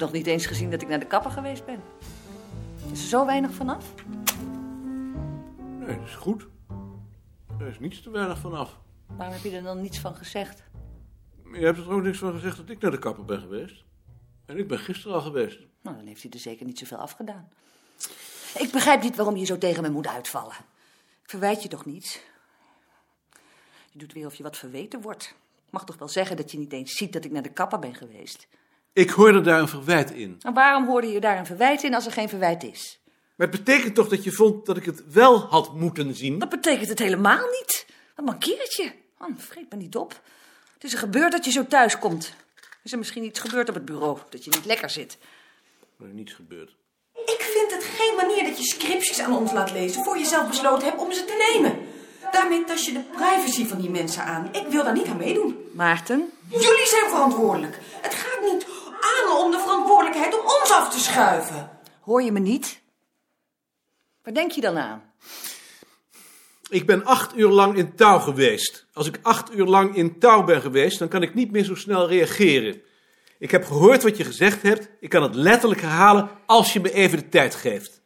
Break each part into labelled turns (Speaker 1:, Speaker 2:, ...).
Speaker 1: nog niet eens gezien dat ik naar de kapper geweest ben. Is er zo weinig vanaf?
Speaker 2: Nee, dat is goed. Er is niets te weinig van af.
Speaker 1: Waarom heb je er dan niets van gezegd?
Speaker 2: Je hebt er ook niks van gezegd dat ik naar de kapper ben geweest. En ik ben gisteren al geweest.
Speaker 1: Nou, dan heeft hij er zeker niet zoveel afgedaan. Ik begrijp niet waarom je zo tegen me moet uitvallen. Ik verwijt je toch niets? Je doet weer of je wat verweten wordt. Ik mag toch wel zeggen dat je niet eens ziet dat ik naar de kapper ben geweest.
Speaker 2: Ik hoorde daar een verwijt in.
Speaker 1: En waarom hoorde je daar een verwijt in als er geen verwijt is?
Speaker 2: Maar het betekent toch dat je vond dat ik het wel had moeten zien?
Speaker 1: Dat betekent het helemaal niet. Wat mankeert je? Man, vreet me niet op. Het is er gebeurd dat je zo thuis komt. Is er misschien iets gebeurd op het bureau dat je niet lekker zit?
Speaker 2: Er is niets gebeurd.
Speaker 3: Ik vind het geen manier dat je scriptjes aan ons laat lezen voor je zelf besloten hebt om ze te nemen. Daarmee tast je de privacy van die mensen aan. Ik wil daar niet aan meedoen.
Speaker 1: Maarten?
Speaker 3: Jullie zijn verantwoordelijk. Het gaat niet aan om de verantwoordelijkheid op ons af te schuiven.
Speaker 1: Hoor je me niet? Waar denk je dan aan?
Speaker 2: Ik ben acht uur lang in touw geweest. Als ik acht uur lang in touw ben geweest, dan kan ik niet meer zo snel reageren. Ik heb gehoord wat je gezegd hebt. Ik kan het letterlijk herhalen als je me even de tijd geeft.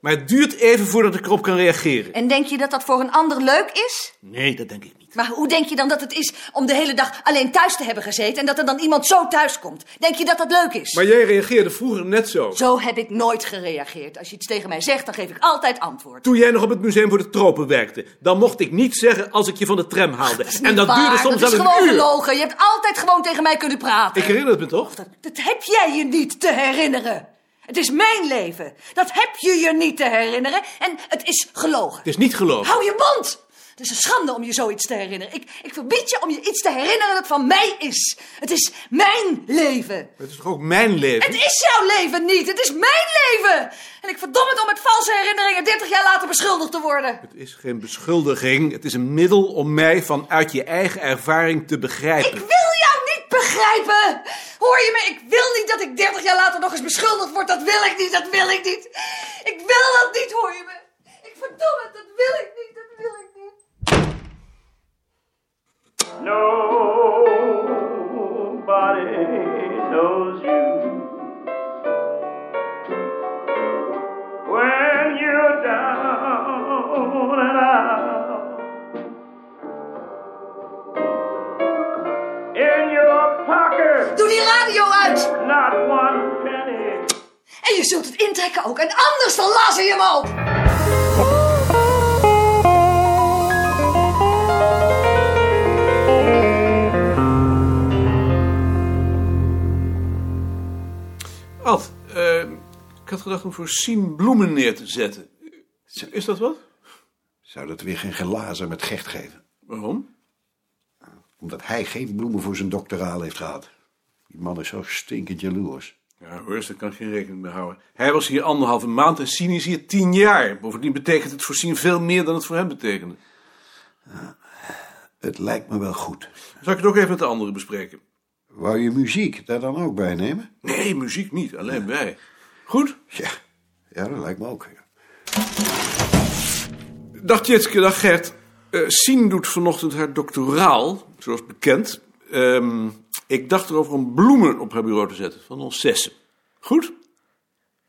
Speaker 2: Maar het duurt even voordat ik erop kan reageren.
Speaker 1: En denk je dat dat voor een ander leuk is?
Speaker 2: Nee, dat denk ik niet.
Speaker 1: Maar hoe denk je dan dat het is om de hele dag alleen thuis te hebben gezeten en dat er dan iemand zo thuis komt? Denk je dat dat leuk is?
Speaker 2: Maar jij reageerde vroeger net zo.
Speaker 1: Zo heb ik nooit gereageerd. Als je iets tegen mij zegt, dan geef ik altijd antwoord.
Speaker 2: Toen jij nog op het Museum voor de Tropen werkte, dan mocht ik niet zeggen als ik je van de tram haalde.
Speaker 1: is
Speaker 2: en
Speaker 1: niet
Speaker 2: dat
Speaker 1: waar,
Speaker 2: duurde soms
Speaker 1: dat is
Speaker 2: wel een
Speaker 1: gewoon
Speaker 2: uur.
Speaker 1: gelogen. Je hebt altijd gewoon tegen mij kunnen praten.
Speaker 2: Ik herinner het me toch?
Speaker 1: Dat heb jij je niet te herinneren. Het is mijn leven. Dat heb je je niet te herinneren. En het is gelogen.
Speaker 2: Het is niet gelogen.
Speaker 1: Hou je mond! Het is een schande om je zoiets te herinneren. Ik, ik verbied je om je iets te herinneren dat van mij is. Het is mijn leven.
Speaker 2: Het is toch ook mijn leven?
Speaker 1: Het is jouw leven niet. Het is mijn leven. En ik verdom het om met valse herinneringen 30 jaar later beschuldigd te worden.
Speaker 2: Het is geen beschuldiging. Het is een middel om mij vanuit je eigen ervaring te
Speaker 1: Ik
Speaker 2: begrijpen.
Speaker 1: wil jou niet begrijpen. Hoor je me? Ik wil niet dat ik 30 jaar later nog eens beschuldigd word. Dat wil ik niet. Dat wil ik niet. Ik wil dat niet, hoor je me? Ik verdom het. Dat wil ik niet. Dat wil ik niet.
Speaker 4: Nobody knows you. When you're down and out, in your pocket,
Speaker 1: Doe die radio uit.
Speaker 4: not one penny.
Speaker 1: En je zult het intrekken ook. En anders dan lazen je hem op.
Speaker 2: Ad, eh, ik had gedacht om voor Sien bloemen neer te zetten. Is dat wat?
Speaker 5: Zou dat weer geen glazen met Gecht geven?
Speaker 2: Waarom?
Speaker 5: Omdat hij geen bloemen voor zijn doctoraal heeft gehad. Die man is zo stinkend jaloers.
Speaker 2: Ja, Horst, daar kan ik geen rekening mee houden. Hij was hier anderhalve maand en Sien is hier tien jaar. Bovendien betekent het voor Sien veel meer dan het voor hem betekende.
Speaker 5: Het lijkt me wel goed.
Speaker 2: Zal ik het ook even met de anderen bespreken?
Speaker 5: Wou je muziek daar dan ook bij nemen?
Speaker 2: Nee, muziek niet, alleen wij. Goed?
Speaker 5: Ja, ja dat lijkt me ook. ja.
Speaker 2: Dag Tjitske, dag Gert. Eh, Sien doet vanochtend haar doctoraal, zoals bekend. Ehm, ik dacht erover om bloemen op haar bureau te zetten, van ons zessen. Goed?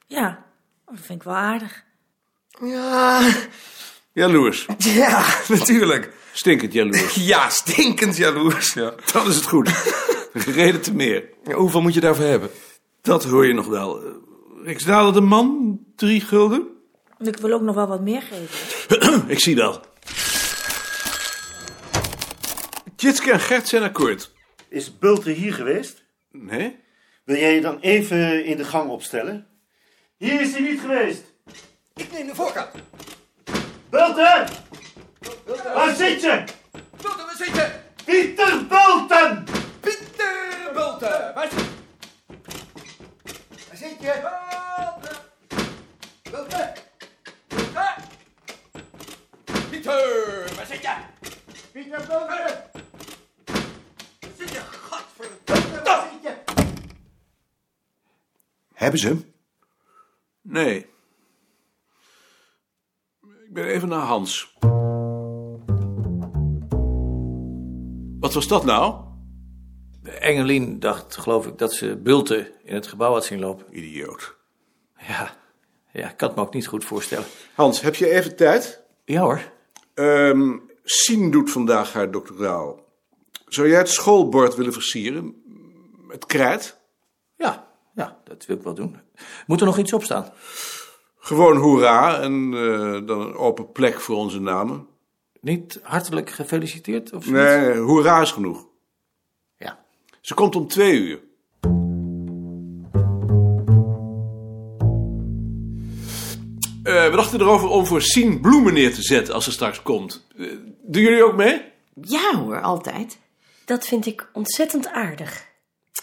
Speaker 6: Ja, oh, dat vind ik wel aardig.
Speaker 7: Ja,
Speaker 2: Jaloers.
Speaker 7: ja, natuurlijk.
Speaker 2: Stinkend jaloers.
Speaker 7: Ja, stinkend jaloers. Ja.
Speaker 2: Dan is het goed. Reden te meer.
Speaker 7: Ja, hoeveel moet je daarvoor hebben?
Speaker 2: Dat hoor je nog wel. Eh, Riksdaalder de man, drie gulden.
Speaker 6: Ik wil ook nog wel wat meer geven.
Speaker 2: ik zie dat. Tjitske en Gert zijn akkoord.
Speaker 8: Is Bulte hier geweest?
Speaker 2: Nee?
Speaker 8: Wil jij je dan even in de gang opstellen? Hier is hij niet geweest!
Speaker 7: Ik neem de voorkant.
Speaker 8: Bulte! Waar zit je?
Speaker 7: Bulten, waar zit je?
Speaker 8: Pieter Bulten!
Speaker 7: Pieter Bulten, waar zit je? Waar zit je? Bulten. Bulten. Bulten. Pieter, waar zit je?
Speaker 8: Pieter Bulten!
Speaker 7: Waar zit je? Gadverdamme, waar zit je?
Speaker 5: Hebben ze hem?
Speaker 2: Nee. Ik ben even naar Hans. Wat was dat nou?
Speaker 9: Engelien dacht, geloof ik, dat ze Bulten in het gebouw had zien lopen.
Speaker 2: Idioot.
Speaker 9: Ja, ja ik kan het me ook niet goed voorstellen.
Speaker 2: Hans, heb je even tijd?
Speaker 9: Ja hoor.
Speaker 2: Ehm Sien doet vandaag haar doctoraal. Zou jij het schoolbord willen versieren? Met krijt?
Speaker 9: Ja, ja, dat wil ik wel doen. Moet er nog iets op staan?
Speaker 2: Gewoon hoera en eh, dan een open plek voor onze namen.
Speaker 9: Niet hartelijk gefeliciteerd of zoiets?
Speaker 2: Nee, hoera is genoeg.
Speaker 9: Ja.
Speaker 2: Ze komt om twee uur. Eh, we dachten erover om voor Sien bloemen neer te zetten als ze straks komt. Eh, doen jullie ook mee?
Speaker 10: Ja hoor, altijd.
Speaker 6: Dat vind ik ontzettend aardig.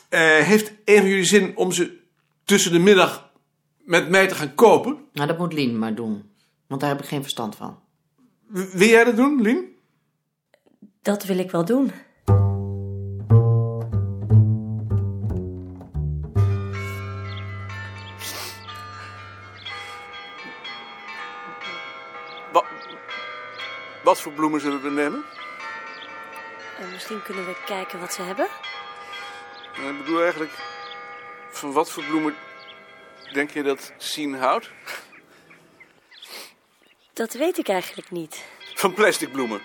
Speaker 2: Eh, heeft een van jullie zin om ze tussen de middag met mij te gaan kopen?
Speaker 10: Nou, dat moet Lien maar doen. Want daar heb ik geen verstand van.
Speaker 2: W- wil jij dat doen, Lien?
Speaker 6: Dat wil ik wel doen.
Speaker 2: Wat, wat voor bloemen zullen we nemen?
Speaker 6: misschien kunnen we kijken wat ze hebben.
Speaker 2: Eh, Ik bedoel eigenlijk, van wat voor bloemen denk je dat Sien houdt?
Speaker 6: Dat weet ik eigenlijk niet.
Speaker 2: Van plastic bloemen.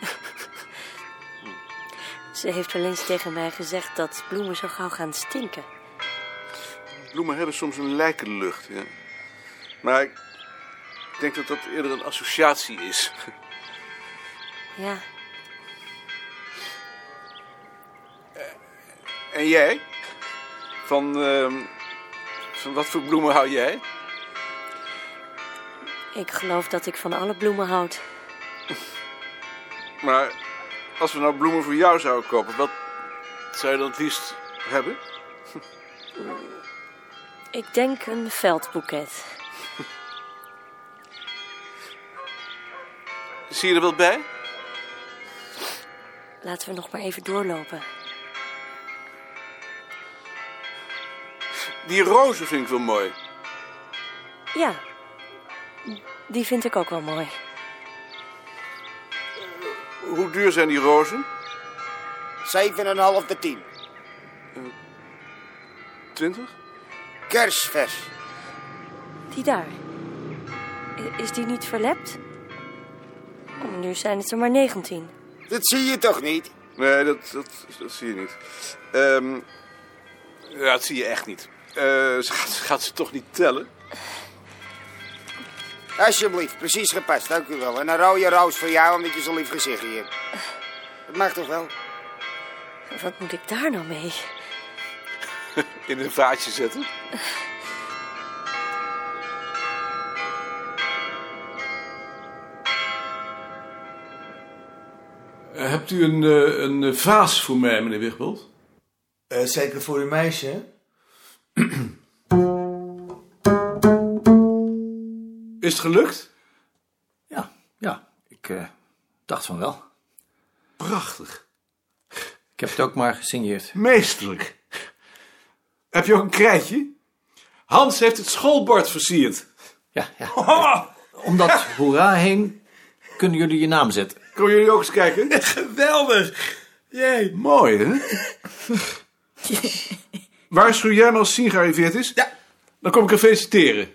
Speaker 6: Ze heeft wel eens tegen mij gezegd dat bloemen zo gauw gaan stinken.
Speaker 2: Bloemen hebben soms een lijkenlucht, ja. Maar ik denk dat dat eerder een associatie is.
Speaker 6: Ja,
Speaker 2: En jij? Van, ehm, van wat voor bloemen hou jij?
Speaker 6: ik geloof dat ik van alle bloemen houd.
Speaker 2: Maar als we nou bloemen voor jou zouden kopen, wat zou je dan het liefst hebben?
Speaker 6: Ik denk een veldboeket.
Speaker 2: Zie je er wat bij?
Speaker 6: Laten we nog maar even doorlopen.
Speaker 2: Die rozen vind ik wel mooi.
Speaker 6: Ja, die vind ik ook wel mooi.
Speaker 2: Hoe duur zijn die rozen?
Speaker 11: 7,5 de 10.
Speaker 2: Twintig?
Speaker 11: Kersvers.
Speaker 6: Die daar. I- Is die niet verlept? Oh, nu zijn het er maar 19.
Speaker 11: Dat zie je toch niet?
Speaker 2: Nee, dat, dat, dat zie je niet. Ehm, ja, dat zie je echt niet. Eh, ze gaat, ze gaat ze toch niet tellen?
Speaker 11: Alsjeblieft, precies gepast, dank u wel. En een rode roos voor jou, omdat je zo'n lief gezichtje hebt. Dat mag toch wel?
Speaker 6: Wat moet ik daar nou mee?
Speaker 2: In een vaatje zetten? Hebt u een, eh, een eh, vaas voor mij, meneer Wigbold?
Speaker 12: Eh, zeker voor uw meisje.
Speaker 2: Is het gelukt?
Speaker 9: Ja, ja. Ik eh, dacht van wel.
Speaker 2: Prachtig.
Speaker 9: Ik heb het ook maar gesigneerd.
Speaker 2: Meesterlijk. Heb je ook een krijtje? Hans heeft het schoolbord versierd.
Speaker 9: Ja, ja.
Speaker 13: Oh,
Speaker 9: Om dat hoera heen kunnen jullie je naam zetten.
Speaker 2: Komen jullie ook eens kijken?
Speaker 12: Geweldig! Jee.
Speaker 2: Mooi, hè? Waarschuw jij me als Sien gearriveerd is?
Speaker 12: Ja.
Speaker 2: Dan kom ik haar feliciteren.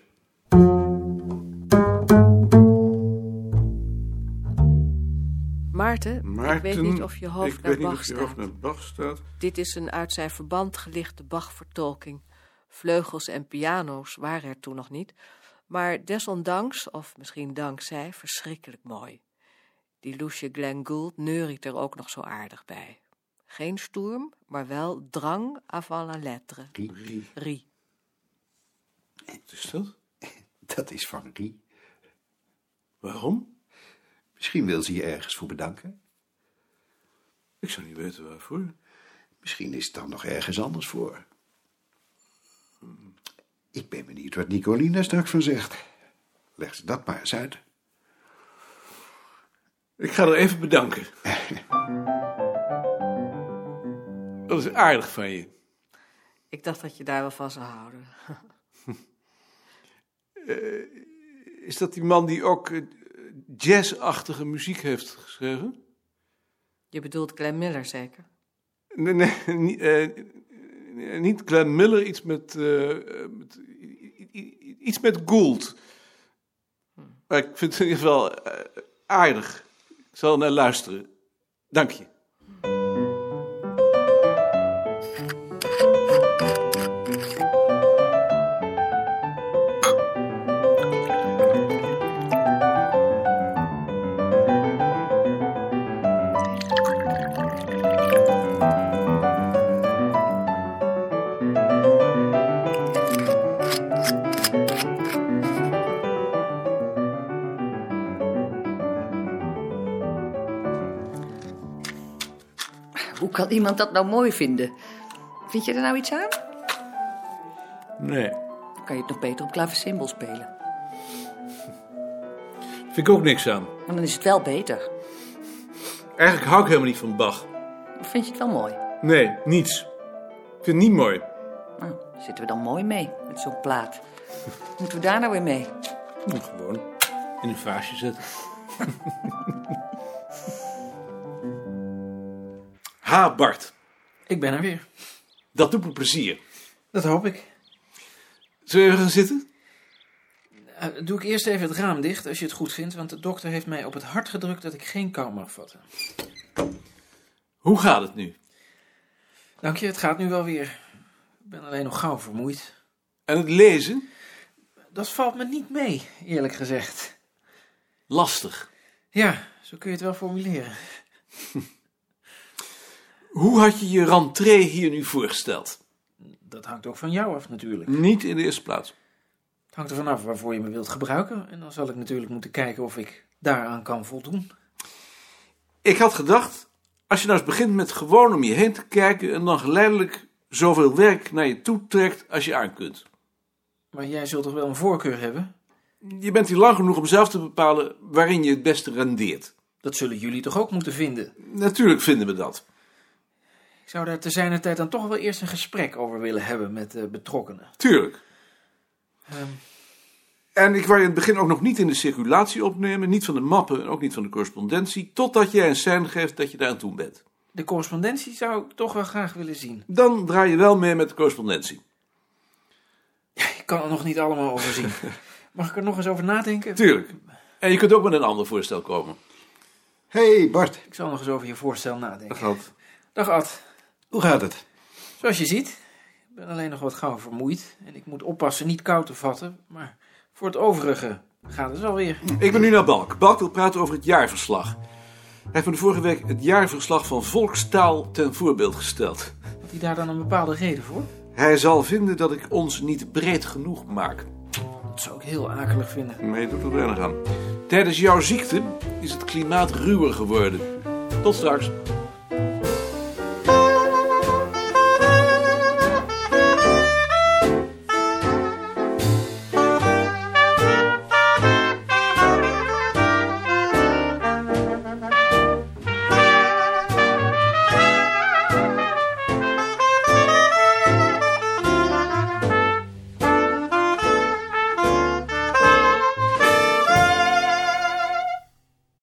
Speaker 13: Maarten, ik weet niet of je hoofd
Speaker 2: ik
Speaker 13: naar
Speaker 2: weet niet
Speaker 13: Bach
Speaker 2: of je hoofd
Speaker 13: staat.
Speaker 2: naar Bach staat.
Speaker 13: Dit is een uit zijn verband gelichte Bach-vertolking. Vleugels en piano's waren er toen nog niet, maar desondanks, of misschien dankzij, verschrikkelijk mooi. Die Lucia Glenn Gould neuriet er ook nog zo aardig bij. Geen stoerm, maar wel drang avant la lettre.
Speaker 5: Rie.
Speaker 13: Rie.
Speaker 2: Wat is dat?
Speaker 5: Dat is van Rie.
Speaker 2: Waarom?
Speaker 5: Misschien wil ze je ergens voor bedanken.
Speaker 2: Ik zou niet weten waarvoor.
Speaker 5: Misschien is het dan nog ergens anders voor. Ik ben benieuwd wat Nicolina straks van zegt. Leg ze dat maar eens uit.
Speaker 2: Ik ga haar even bedanken. dat is aardig van je.
Speaker 13: Ik dacht dat je daar wel van zou houden.
Speaker 2: Is dat die man die ook eh, jazzachtige muziek heeft geschreven?
Speaker 13: Je bedoelt Glenn Miller zeker?
Speaker 2: Nee, nee, niet, eh, niet Glenn Miller, iets met, eh, eh, met- i- i- iets met Gould. Maar ik vind het in ieder geval eh, aardig. Ik zal naar luisteren. Dank je.
Speaker 1: Hoe kan iemand dat nou mooi vinden? Vind je er nou iets aan?
Speaker 2: Nee,
Speaker 1: Dan kan je het nog beter op klaversymbol spelen.
Speaker 2: vind ik ook niks aan.
Speaker 1: En dan is het wel beter.
Speaker 2: Eigenlijk hou ik helemaal niet van Bach.
Speaker 1: Vind je het wel mooi?
Speaker 2: Nee, niets. Ik vind het niet mooi.
Speaker 1: Nou, zitten we dan mooi mee met zo'n plaat. Moeten we daar nou weer mee?
Speaker 2: Moet gewoon in een vaasje zetten. ha, Bart.
Speaker 13: Ik ben er weer.
Speaker 2: Dat doet me plezier.
Speaker 13: Dat hoop ik.
Speaker 2: Zullen we even gaan zitten?
Speaker 13: Eh, Doe ik eerst even het raam dicht, als je het goed vindt, want de dokter heeft mij op het hart gedrukt dat ik geen kou mag vatten.
Speaker 2: Hoe gaat het nu?
Speaker 13: Dank je, het gaat nu wel weer. Ik ben alleen nog gauw vermoeid.
Speaker 2: En het lezen?
Speaker 13: Dat valt me niet mee, eerlijk gezegd.
Speaker 2: Lastig.
Speaker 13: Ja, zo kun je het wel formuleren.
Speaker 2: Hoe had je je rentree hier nu voorgesteld?
Speaker 13: Dat hangt ook van jou af natuurlijk.
Speaker 2: Niet in de eerste plaats.
Speaker 13: Het hangt er vanaf waarvoor je me wilt gebruiken. En dan zal ik natuurlijk moeten kijken of ik daaraan kan voldoen.
Speaker 2: Ik had gedacht, als je nou eens begint met gewoon om je heen te kijken... en dan geleidelijk zoveel werk naar je toe trekt als je aan kunt.
Speaker 13: Maar jij zult toch wel een voorkeur hebben?
Speaker 2: Je bent hier lang genoeg om zelf te bepalen waarin je het beste rendeert.
Speaker 13: Dat zullen jullie toch ook moeten vinden?
Speaker 2: Natuurlijk vinden we dat.
Speaker 13: Ik zou daar te zijner tijd dan toch wel eerst een gesprek over willen hebben met de betrokkenen.
Speaker 2: Tuurlijk.
Speaker 13: Ehm,
Speaker 2: En ik wou je in het begin ook nog niet in de circulatie opnemen, niet van de mappen en ook niet van de correspondentie, totdat jij een sein geeft dat je daar aan toe bent.
Speaker 13: de correspondentie zou ik toch wel graag willen zien.
Speaker 2: Dan draai je wel mee met de correspondentie.
Speaker 13: Ik kan er nog niet allemaal over zien. Mag ik er nog eens over nadenken?
Speaker 2: Tuurlijk. En je kunt ook met een ander voorstel komen.
Speaker 14: hey, Bart.
Speaker 13: Ik zal nog eens over je voorstel nadenken.
Speaker 2: Gaat.
Speaker 13: Dag Ad.
Speaker 14: Hoe gaat het?
Speaker 13: Zoals je ziet, ik ben alleen nog wat gauw vermoeid. En ik moet oppassen niet koud te vatten. Maar voor het overige gaat het wel weer.
Speaker 2: Ik ben nu naar Balk. Balk wil praten over het jaarverslag. Hij heeft me de vorige week het jaarverslag van Volkstaal ten voorbeeld gesteld.
Speaker 13: Had hij daar dan een bepaalde reden voor?
Speaker 2: Hij zal vinden dat ik ons niet breed genoeg maak.
Speaker 13: Dat zou ik heel akelig vinden.
Speaker 2: Maar je doet er weinig aan. Tijdens jouw ziekte is het klimaat ruwer geworden. Tot straks.